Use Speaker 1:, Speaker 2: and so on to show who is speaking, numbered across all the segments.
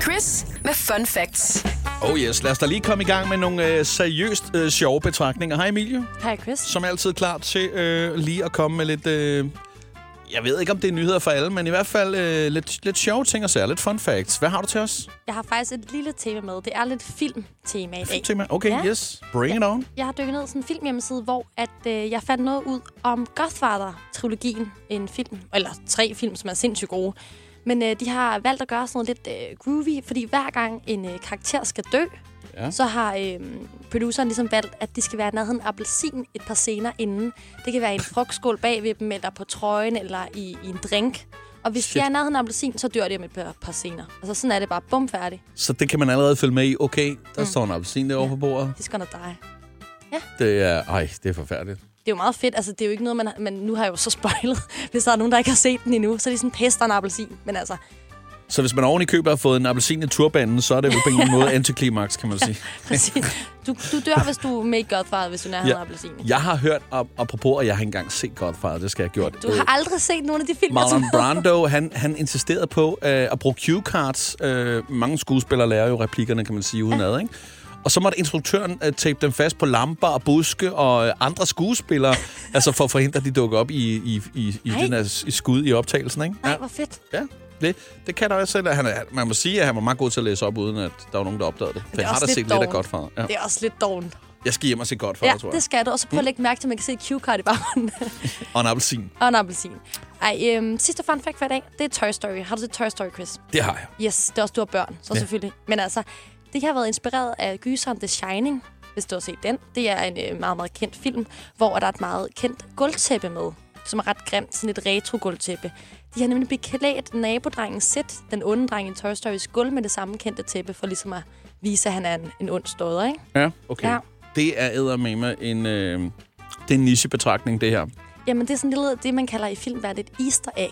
Speaker 1: Chris med Fun Facts.
Speaker 2: Oh yes, lad os da lige komme i gang med nogle øh, seriøst øh, sjove betragtninger. Hej Emilie,
Speaker 3: Hej Chris.
Speaker 2: som er altid klar til øh, lige at komme med lidt... Øh, jeg ved ikke, om det er nyheder for alle, men i hvert fald øh, lidt, lidt sjove ting og sager. Lidt fun facts. Hvad har du til os?
Speaker 3: Jeg har faktisk et lille tema med. Det er lidt filmtema i dag.
Speaker 2: Filmtema? Okay,
Speaker 3: Ja.
Speaker 2: yes. Bring it on.
Speaker 3: Jeg har dykket ned i sådan en filmhjemmeside, hvor at, øh, jeg fandt noget ud om Godfather-trilogien. En film, eller tre film, som er sindssygt gode. Men øh, de har valgt at gøre sådan noget lidt øh, groovy, fordi hver gang en øh, karakter skal dø,
Speaker 2: Ja.
Speaker 3: ja. så har øh, produceren ligesom valgt, at de skal være i nærheden af appelsin et par scener inden. Det kan være i en frugtskål bag ved dem, eller på trøjen, eller i, i en drink. Og hvis Shit.
Speaker 2: Shit.
Speaker 3: de er i nærheden af appelsin, så dør de om et par, par scener. Altså sådan er det bare bum færdig.
Speaker 2: Så det kan man allerede følge med i. Okay, der mm. står en appelsin derovre på bordet.
Speaker 3: De skal nok dig.
Speaker 2: Det er... Ej, det er forfærdeligt.
Speaker 3: det er jo meget fedt. Altså, det er jo ikke noget, man, har, man nu har jeg jo så spoilet. Hvis der er nogen, der ikke har set den endnu, så er de sådan pester en appelsin. Men altså,
Speaker 2: Så hvis man oven i købet har fået en appelsin i turbanen, så er det jo på en eller anden måde antiklimaks, kan man sige.
Speaker 3: præcis. Du, du dør, hvis du er med i Godfather, hvis du er nærheden
Speaker 2: Ja.
Speaker 3: ja. appelsin.
Speaker 2: Jeg har hørt, ap- apropos, at jeg har ikke engang set Godfather, det skal jeg have gjort. Øh,
Speaker 3: Du har aldrig set nogen af de film,
Speaker 2: Marlon
Speaker 3: jeg
Speaker 2: Brando, han, han insisterede på øh, at bruge cue cards. Øh, mange skuespillere lærer jo replikkerne, kan man sige, udenad, ikke? Og så måtte instruktøren øh, tape dem fast på lamper og buske og øh, andre skuespillere, altså for at forhindre, at de dukker op i, i, i, i
Speaker 3: Ej.
Speaker 2: den her i skud i optagelsen, ikke?
Speaker 3: Nej, hvor fedt.
Speaker 2: Ja, det, det kan der også selv. at Han er, man må sige, at han var meget god til at læse op, uden at der var nogen, der opdagede det. For
Speaker 3: er
Speaker 2: jeg har da
Speaker 3: også lidt
Speaker 2: set lidt af
Speaker 3: dovent.
Speaker 2: Godfather. Ja.
Speaker 3: Det er også lidt dovent.
Speaker 2: Jeg skal hjem og se Godfather,
Speaker 3: Ja,
Speaker 2: tror jeg. Mm.
Speaker 3: det skal du. Og så prøv at lægge mærke til, at man kan se et cue card i baggrunden.
Speaker 2: Og en appelsin.
Speaker 3: og en appelsin. Ej, øhm, sidste fun fact for i dag, det er Toy Story. Har du set Toy Story, Chris?
Speaker 2: Det har jeg.
Speaker 3: Yes, det er også, du har børn, så
Speaker 2: Ja.
Speaker 3: ja. selvfølgelig. Men altså, det har været inspireret af gyseren The Shining, hvis du har set den. Det er en øh, meget, meget kendt film, hvor der er et meget kendt gulvtæppe med, som er ret grimt, sådan et retro-gulvtæppe. De har nemlig beklædt nabodrengen Sid, den onde dreng i Toy Story's gulv, med det samme kendte tæppe, for ligesom at vise, at han er en, en ond støder, ikke?
Speaker 2: Ja, okay.
Speaker 3: Ja.
Speaker 2: Det er eddermame en... Øh, det er en nichebetragtning, det her.
Speaker 3: Jamen, det er sådan lidt det, man kalder i filmverdenen et easter egg.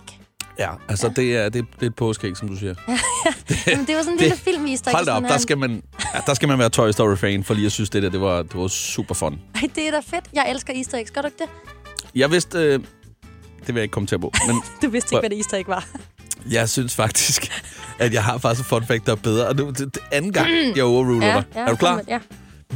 Speaker 2: Ja, altså ja. det er det, det er et påskeæg, som du siger.
Speaker 3: Altså, Jamen, det var sådan en
Speaker 2: Det-
Speaker 3: lille film easter egg.
Speaker 2: Hold da op,
Speaker 3: sådan
Speaker 2: der
Speaker 3: en-
Speaker 2: skal, man, ja, der skal man være Toy Story-fan, for lige at synes, det der det var, det var super fun.
Speaker 3: Ej, det er da fedt. Jeg elsker easter eggs. Gør du ikke det?
Speaker 2: Jeg vidste... Øh, det vil jeg ikke komme til at på, men
Speaker 3: Du vidste
Speaker 2: Prøv-
Speaker 3: ikke, hvad det easter egg var.
Speaker 2: jeg synes faktisk, at jeg har faktisk et fun fact, der er bedre. Og det er det er anden gang, jeg overruler dig. er du klar?
Speaker 3: Ja.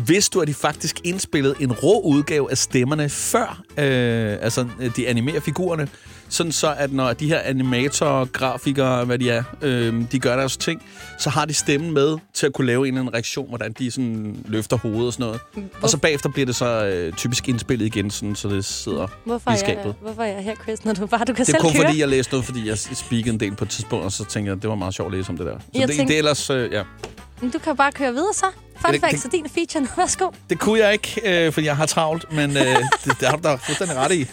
Speaker 2: Vidste du, at de faktisk indspillede en rå udgave af stemmerne, før øh, altså, øh, de animerer figurerne? Sådan så, at når de her animatorer, grafikere, hvad de er, øh, de gør deres ting, så har de stemmen med til at kunne lave en eller anden reaktion, hvordan de sådan løfter hovedet og sådan noget. Og så bagefter bliver det så øh, typisk indspillet igen, sådan, så det sidder
Speaker 3: Hvorfor
Speaker 2: i
Speaker 3: er,
Speaker 2: skabet.
Speaker 3: jeg, hvorfor er jeg her, Chris, når du bare du kan
Speaker 2: Det er
Speaker 3: selv
Speaker 2: kun
Speaker 3: køre?
Speaker 2: fordi, jeg læste noget, fordi jeg speakede en del på et tidspunkt, og så tænkte jeg, at det var meget sjovt at læse om det der. Så
Speaker 3: Jeg
Speaker 2: det,
Speaker 3: tænkte-
Speaker 2: det, er ellers, øh, ja.
Speaker 3: Men Du kan bare køre videre så. Fun
Speaker 2: det-
Speaker 3: facts er din feature nu. Værsgo.
Speaker 2: det kunne jeg ikke, øh, fordi jeg har travlt, men øh, det, det har du da fuldstændig ret i.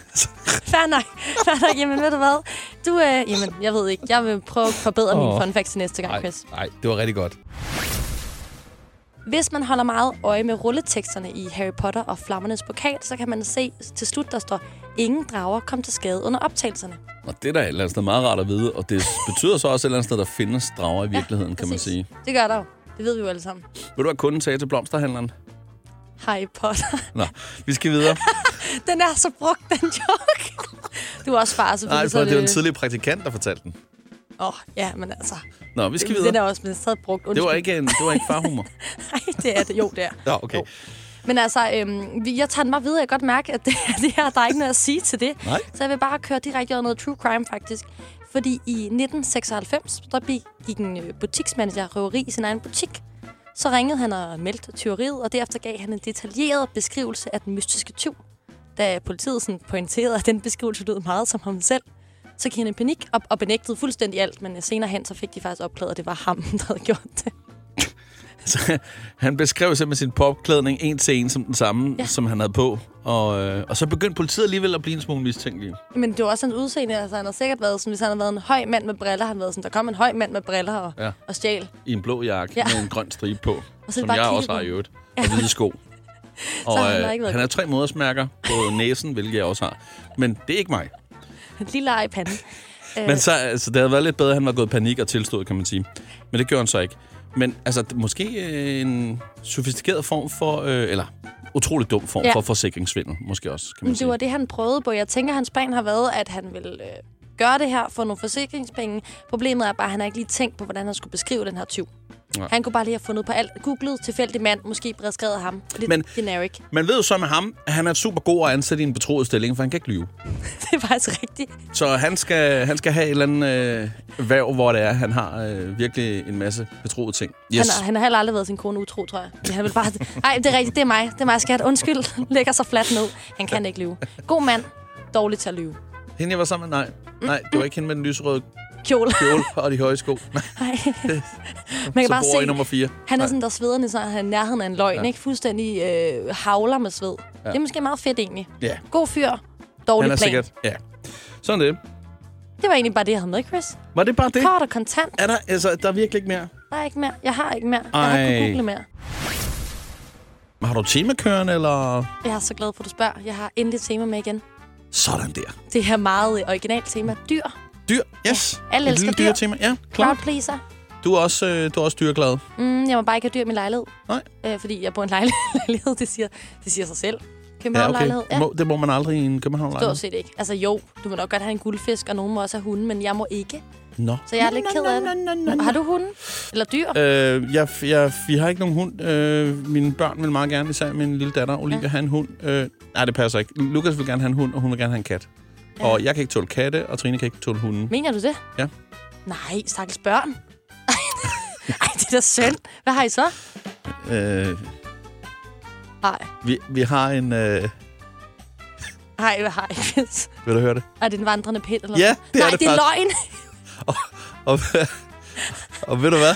Speaker 3: Fair nok. Fair nok. Jamen, ved du hvad? Du, øh, jamen, jeg ved ikke. Jeg vil prøve at forbedre oh.
Speaker 2: Åh.
Speaker 3: min fun facts til næste gang,
Speaker 2: Nej,
Speaker 3: Chris.
Speaker 2: nej, det var rigtig godt.
Speaker 3: Hvis man holder meget øje med rulleteksterne i Harry Potter og Flammernes Pokal, så kan man se til slut, der står, ingen drager kom til skade under optagelserne.
Speaker 2: Og det er da et eller andet sted meget rart at vide, og det betyder så også et eller andet sted, der findes drager i virkeligheden, ja, kan man
Speaker 3: Præcis.
Speaker 2: sige.
Speaker 3: Det gør der jo. Det ved vi jo alle sammen.
Speaker 2: Vil du have kunden sagde til blomsterhandleren?
Speaker 3: Harry Potter.
Speaker 2: Nå, vi skal videre.
Speaker 3: Den er så brugt, den joke. Du er øh, også far,
Speaker 2: Nej,
Speaker 3: selvfølgelig.
Speaker 2: for det var en
Speaker 3: tidlig...
Speaker 2: tidlig praktikant, der fortalte den.
Speaker 3: Åh, oh, ja, men altså.
Speaker 2: Nå, vi skal
Speaker 3: Den er
Speaker 2: videre.
Speaker 3: også blevet stadig brugt.
Speaker 2: Det var
Speaker 3: Undskyld.
Speaker 2: ikke, en, det var ikke farhumor.
Speaker 3: Nej, det er det. Jo, det er.
Speaker 2: Nå, okay.
Speaker 3: Jo. Men altså, øhm, vi- jeg tager den bare videre. Jeg kan godt mærke, at det, det her, der er ikke noget at sige til det.
Speaker 2: Nej.
Speaker 3: Så jeg vil bare køre direkte over noget true crime, faktisk. Fordi i 1996, der begik en øh, butiksmanager røveri i sin egen butik. Så ringede han og meldte tyveriet, og derefter gav han en detaljeret beskrivelse af den mystiske tyv. Da politiet sådan pointerede, at den beskrivelse lød meget som ham selv, så gik han i panik og, og benægtede fuldstændig alt, men øh, senere hen så fik de faktisk opklaret, at det var ham, der havde gjort det.
Speaker 2: Så, han beskrev simpelthen sin popklædning en til en som den samme, ja. som han havde på. Og, øh, og så begyndte politiet alligevel at blive en smule mistænkelige.
Speaker 3: Men det var også hans udseende. Altså, han har sikkert været sådan, hvis han havde været en høj mand med briller, han været sådan, der kom en høj mand med briller og,
Speaker 2: Ja.
Speaker 3: ja. og stjæl.
Speaker 2: i en blå jakke ja.
Speaker 3: Ja.
Speaker 2: med en grøn stribe på,
Speaker 3: Og så
Speaker 2: som
Speaker 3: bare
Speaker 2: jeg
Speaker 3: kigge
Speaker 2: også
Speaker 3: på
Speaker 2: har i
Speaker 3: den.
Speaker 2: øvrigt, og hvide sko. Og
Speaker 3: har han
Speaker 2: øh,
Speaker 3: nok ikke været
Speaker 2: han har tre modersmærker på næsen, hvilket jeg også har. Men det er ikke mig.
Speaker 3: En lille ej i panden.
Speaker 2: Men så, altså, det havde været lidt bedre, at han var gået i panik og tilstået, kan man sige. Men det gjorde han så ikke. Men altså, det- måske øh, en sofistikeret form for, øh, eller utrolig dum form ja.
Speaker 3: Ja.
Speaker 2: for forsikringsvindel, måske også, kan man
Speaker 3: Men
Speaker 2: sige.
Speaker 3: det var det, han prøvede på. Jeg tænker, hans plan har været, at han ville øh, gøre det her for nogle forsikringspenge. Problemet er bare, at han har ikke lige tænkt på, hvordan han skulle beskrive den her tyv.
Speaker 2: Nej.
Speaker 3: Han kunne bare lige have fundet på alt. Googlet tilfældig mand, måske bredskrevet ham. Lidt
Speaker 2: Men-
Speaker 3: Men... generic.
Speaker 2: Man ved jo så med ham, at han er super god at ansætte i en betroet stilling, for han kan ikke lyve.
Speaker 3: Det er faktisk rigtigt.
Speaker 2: Så han skal, han skal have et eller andet øh, værv, hvor det er, han har øh, virkelig en masse betroede ting.
Speaker 3: Yes. Han, har, han har heller aldrig været sin kone utro, tror jeg. Men han vil bare... Ej, det er rigtigt. Det er mig. Det er mig, skat. Undskyld. Lægger sig fladt ned. Han kan ikke lyve. God mand. Dårlig til at lyve.
Speaker 2: Hende, jeg var sammen med, nej. Nej, det var ikke hende med den lyserøde
Speaker 3: Kjole.
Speaker 2: kjole og de høje sko. Nej,
Speaker 3: Nej. Man kan
Speaker 2: så
Speaker 3: bare
Speaker 2: bor i
Speaker 3: se,
Speaker 2: nummer 4.
Speaker 3: han er sådan der svedende, så han er i nærheden af en løgn.
Speaker 2: Ja.
Speaker 3: Ja. Ikke? Fuldstændig øh, havler med sved. Ja. Det er måske meget fedt, egentlig.
Speaker 2: Ja,
Speaker 3: God fyr.
Speaker 2: han
Speaker 3: Dårlig
Speaker 2: er
Speaker 3: plan.
Speaker 2: sikkert. Ja. Sådan det.
Speaker 3: Det var egentlig bare det, jeg havde med, Chris.
Speaker 2: Var det bare det?
Speaker 3: Kort og kontant.
Speaker 2: Er der, altså, der er virkelig ikke mere?
Speaker 3: Der er ikke mere. Jeg har ikke mere. Jeg
Speaker 2: Ej.
Speaker 3: har ikke google mere.
Speaker 2: Har du temakørende, eller?
Speaker 3: Jeg er så glad for, at du spørger. Jeg har endelig et tema med igen.
Speaker 2: Sådan der.
Speaker 3: Det her meget øh, originalt tema. Dyr.
Speaker 2: Dyr, yes.
Speaker 3: alle
Speaker 2: Et
Speaker 3: elsker
Speaker 2: lille
Speaker 3: dyr.
Speaker 2: dyretema. Ja, klart.
Speaker 3: Cloud pleaser.
Speaker 2: Du er også, øh, du er også dyreglad.
Speaker 3: Mm, jeg må bare ikke have dyr i min lejlighed.
Speaker 2: Nej.
Speaker 3: Øh, fordi jeg bor i en lejlighed. lejlighed. Det siger, det siger sig selv.
Speaker 2: Ja,
Speaker 3: København ja,
Speaker 2: okay.
Speaker 3: lejlighed. Ja,
Speaker 2: Må, det må man aldrig i en københavn
Speaker 3: stort set ikke. Altså jo, du må nok godt have en guldfisk, og nogen må også have hunde, men jeg må ikke.
Speaker 2: Nå.
Speaker 3: Så jeg er lidt ked af det. Har du hunde? Eller dyr?
Speaker 2: Øh, jeg, jeg, vi har ikke nogen hund. Øh, mine børn vil meget gerne, især min lille datter Olivia, ja.
Speaker 3: Ja.
Speaker 2: have en hund. Øh, nej, det passer ikke. Lukas vil gerne have en hund, og hun vil gerne have en kat. Ja.
Speaker 3: Ja.
Speaker 2: Og jeg kan ikke tåle katte, og Trine kan ikke tåle hunden.
Speaker 3: Mener du det?
Speaker 2: Ja.
Speaker 3: Nej, stakkels børn. Ej, det er da synd. Hvad har I så?
Speaker 2: Øh,
Speaker 3: Nej,
Speaker 2: vi, vi har en... Øh,
Speaker 3: nej, hvad har I? Chris?
Speaker 2: vil du høre det?
Speaker 3: Er det en vandrende pind? Eller?
Speaker 2: Ja, det
Speaker 3: Nej,
Speaker 2: er det
Speaker 3: det er
Speaker 2: faktisk.
Speaker 3: løgn.
Speaker 2: Og, og ved du hvad?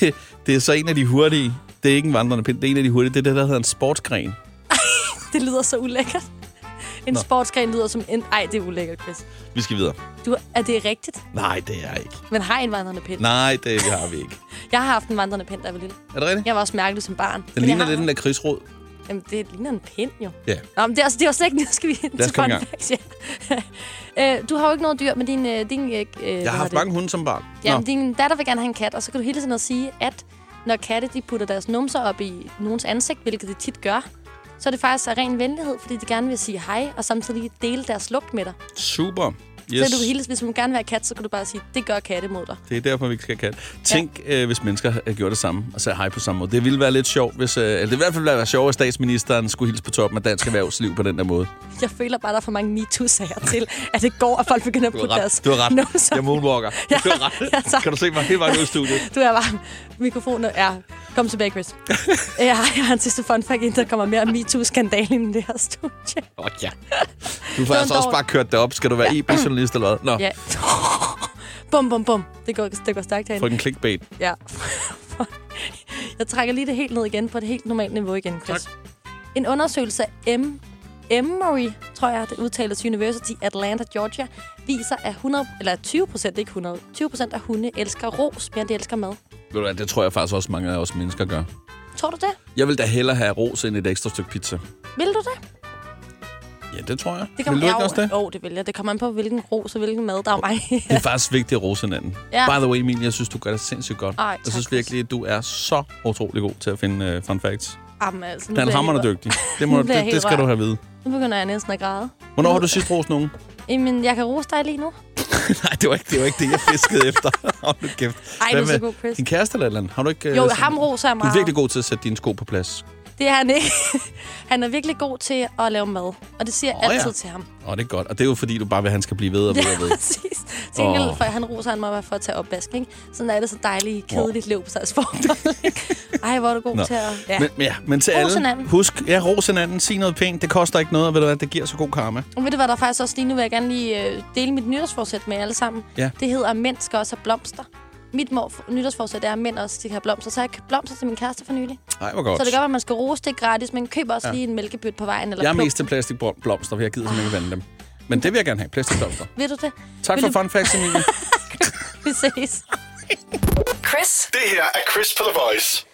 Speaker 2: Det, det er så en af de hurtige. Det er ikke en vandrende pind. Det er en af de hurtige. Det er det, der hedder en sportsgren.
Speaker 3: Det lyder så ulækkert. En
Speaker 2: Nå.
Speaker 3: sportsgren lyder som en... Ej, det er ulækkert, Chris.
Speaker 2: Vi skal videre.
Speaker 3: Du, er det rigtigt?
Speaker 2: Nej, det er ikke.
Speaker 3: Men har I en vandrende pind?
Speaker 2: Nej, det har vi ikke.
Speaker 3: Jeg har haft en vandrende pind, da jeg var lille.
Speaker 2: Er det rigtigt?
Speaker 3: Jeg var også mærkelig som barn.
Speaker 2: Den
Speaker 3: Men jeg
Speaker 2: ligner
Speaker 3: har-
Speaker 2: lidt en lakridsrod.
Speaker 3: Jamen, det ligner en pind jo.
Speaker 2: Ja.
Speaker 3: Nå, men det er, altså, det er jo slet ikke... Nu skal vi ind
Speaker 2: Lad os
Speaker 3: til
Speaker 2: komme i
Speaker 3: fun
Speaker 2: gang.
Speaker 3: facts, ja. Øh, du har jo ikke noget dyr, men din... øh, din øh,
Speaker 2: Jeg har haft mange hunde som barn.
Speaker 3: Ja, din datter vil gerne have en kat, og så kan du hele tiden at sige, at når katte de putter deres numser op i nogens ansigt, hvilket de tit gør, så er det faktisk af ren venlighed, fordi de gerne vil sige hej, og samtidig dele deres lugt med dig. Yes.
Speaker 2: Super.
Speaker 3: Så
Speaker 2: Yes.
Speaker 3: kan du hele, hvis man gerne vil være kat, så kan du bare sige, det gør katte mod dig.
Speaker 2: Det er derfor, vi ikke skal kalde. Tænk, ja. øh, hvis mennesker havde gjort det samme og sagde hej på samme måde. Det ville være lidt sjovt, hvis... Øh, eller det ville i hvert fald være sjovt, at statsministeren skulle hilse på toppen af dansk erhvervsliv på den der måde.
Speaker 3: Jeg føler bare, der er for mange MeToo-sager til, at det går, at folk begynder at
Speaker 2: Du
Speaker 3: putte
Speaker 2: har
Speaker 3: deres
Speaker 2: ret. Du har ret.
Speaker 3: numser.
Speaker 2: Jeg er moonwalker. Ja. Du har
Speaker 3: Ja,
Speaker 2: ret.
Speaker 3: tak.
Speaker 2: kan du se mig helt vejen ud i studiet?
Speaker 3: Du er varm. Mikrofonen er... Kom tilbage, Chris. jeg, har, jeg har en sidste fun fact, inden der kommer mere MeToo-skandale i det her studie.
Speaker 2: Åh, oh, ja. Du har faktisk
Speaker 3: dårlig-
Speaker 2: altså også bare kørt det op. Skal du være ja. e-journalist eller hvad? Nå, ja.
Speaker 3: Ja. bum, bum, bum. Det går, det går stærkt herinde.
Speaker 2: frygten clickbait.
Speaker 3: Ja. jeg trækker lige det helt ned igen på et helt normalt niveau igen,
Speaker 2: Tak.
Speaker 3: Chris. Tak. En undersøgelse af M. Emory, tror jeg, det udtales University Atlanta, Georgia, viser, at 100, eller 20 procent, ikke 100, 20 procent af hunde elsker ros, mere end de elsker mad.
Speaker 2: Ved du hvad, det tror jeg faktisk også, mange af os mennesker gør.
Speaker 3: Tror du det?
Speaker 2: Jeg vil da hellere have ros end et ekstra stykke pizza.
Speaker 3: Vil du det?
Speaker 2: Ja, det tror jeg.
Speaker 3: det
Speaker 2: vil du
Speaker 3: jeg
Speaker 2: ikke også det?
Speaker 3: Jo, oh, det vil jeg. Det kommer an på, hvilken ros og hvilken mad, der er mig.
Speaker 2: Det er faktisk vigtigt at rose hinanden. Ja.
Speaker 3: Ja.
Speaker 2: By the way, Emil, jeg synes, du gør det sindssygt godt.
Speaker 3: Ej,
Speaker 2: jeg
Speaker 3: tak,
Speaker 2: synes virkelig, at du er så utrolig god til at finde uh, fun facts.
Speaker 3: Jamen, altså, nu
Speaker 2: Den
Speaker 3: bliver jeg
Speaker 2: hammer
Speaker 3: helt
Speaker 2: dygtig. Det, må,
Speaker 3: Nu bliver
Speaker 2: det,
Speaker 3: jeg helt
Speaker 2: det skal
Speaker 3: rørt.
Speaker 2: du have at vide.
Speaker 3: rørt. Nu begynder jeg næsten at græde.
Speaker 2: Hvornår har du sidst rost nogen?
Speaker 3: Jamen, jeg kan rose dig lige nu.
Speaker 2: Nej, det var ikke det, var ikke det jeg fiskede efter. Hold nu kæft.
Speaker 3: Ej, du
Speaker 2: Hvad
Speaker 3: er så
Speaker 2: med
Speaker 3: god, Chris.
Speaker 2: Din kæreste eller et eller andet? Har du ikke... øh,
Speaker 3: Jo,
Speaker 2: sådan-
Speaker 3: ham roser jeg
Speaker 2: Du
Speaker 3: meget.
Speaker 2: er virkelig god til at sætte dine sko på plads.
Speaker 3: Det er han ikke. han er virkelig god til at lave mad. Og det siger
Speaker 2: Åh,
Speaker 3: jeg altid
Speaker 2: ja.
Speaker 3: ja. til ham.
Speaker 2: Åh, det er godt. Og det er jo fordi, du bare vil, at han skal blive ved og ved og ved.
Speaker 3: præcis. Til gengæld,
Speaker 2: Åh.
Speaker 3: for han roser han mig for at tage opvask, ikke? Sådan er det så dejligt, kedeligt liv på sig Ej, hvor er du god
Speaker 2: Nå.
Speaker 3: til at... Ja.
Speaker 2: Men, ja, men til
Speaker 3: Ros
Speaker 2: alle,
Speaker 3: hinanden.
Speaker 2: husk, ja, ros hinanden, sig noget pænt, det koster ikke noget, og ved du hvad, det giver så god karma.
Speaker 3: Og ved du hvad, der er faktisk også lige nu vil jeg gerne lige øh, dele mit nytårsforsæt med jer alle sammen.
Speaker 2: Ja.
Speaker 3: Det hedder, at mænd skal også have blomster. Mit mor, nytårsforsæt er, at mænd også skal have blomster. Så jeg købte blomster til min kæreste for nylig.
Speaker 2: Ej, hvor godt.
Speaker 3: Så det gør, at man skal rose det gratis, men køb også ja. lige en mælkebøt på vejen. Eller
Speaker 2: Jeg er
Speaker 3: pluk.
Speaker 2: mest til plastikblomster, for jeg gider simpelthen ikke vande dem. Men det vil jeg gerne have, plastikblomster.
Speaker 3: Ved du det?
Speaker 2: Tak
Speaker 3: Vil
Speaker 2: for
Speaker 3: du-
Speaker 2: fun facts, Emilie.
Speaker 3: Vi ses.
Speaker 1: Chris
Speaker 4: Det her er Chris på The Voice.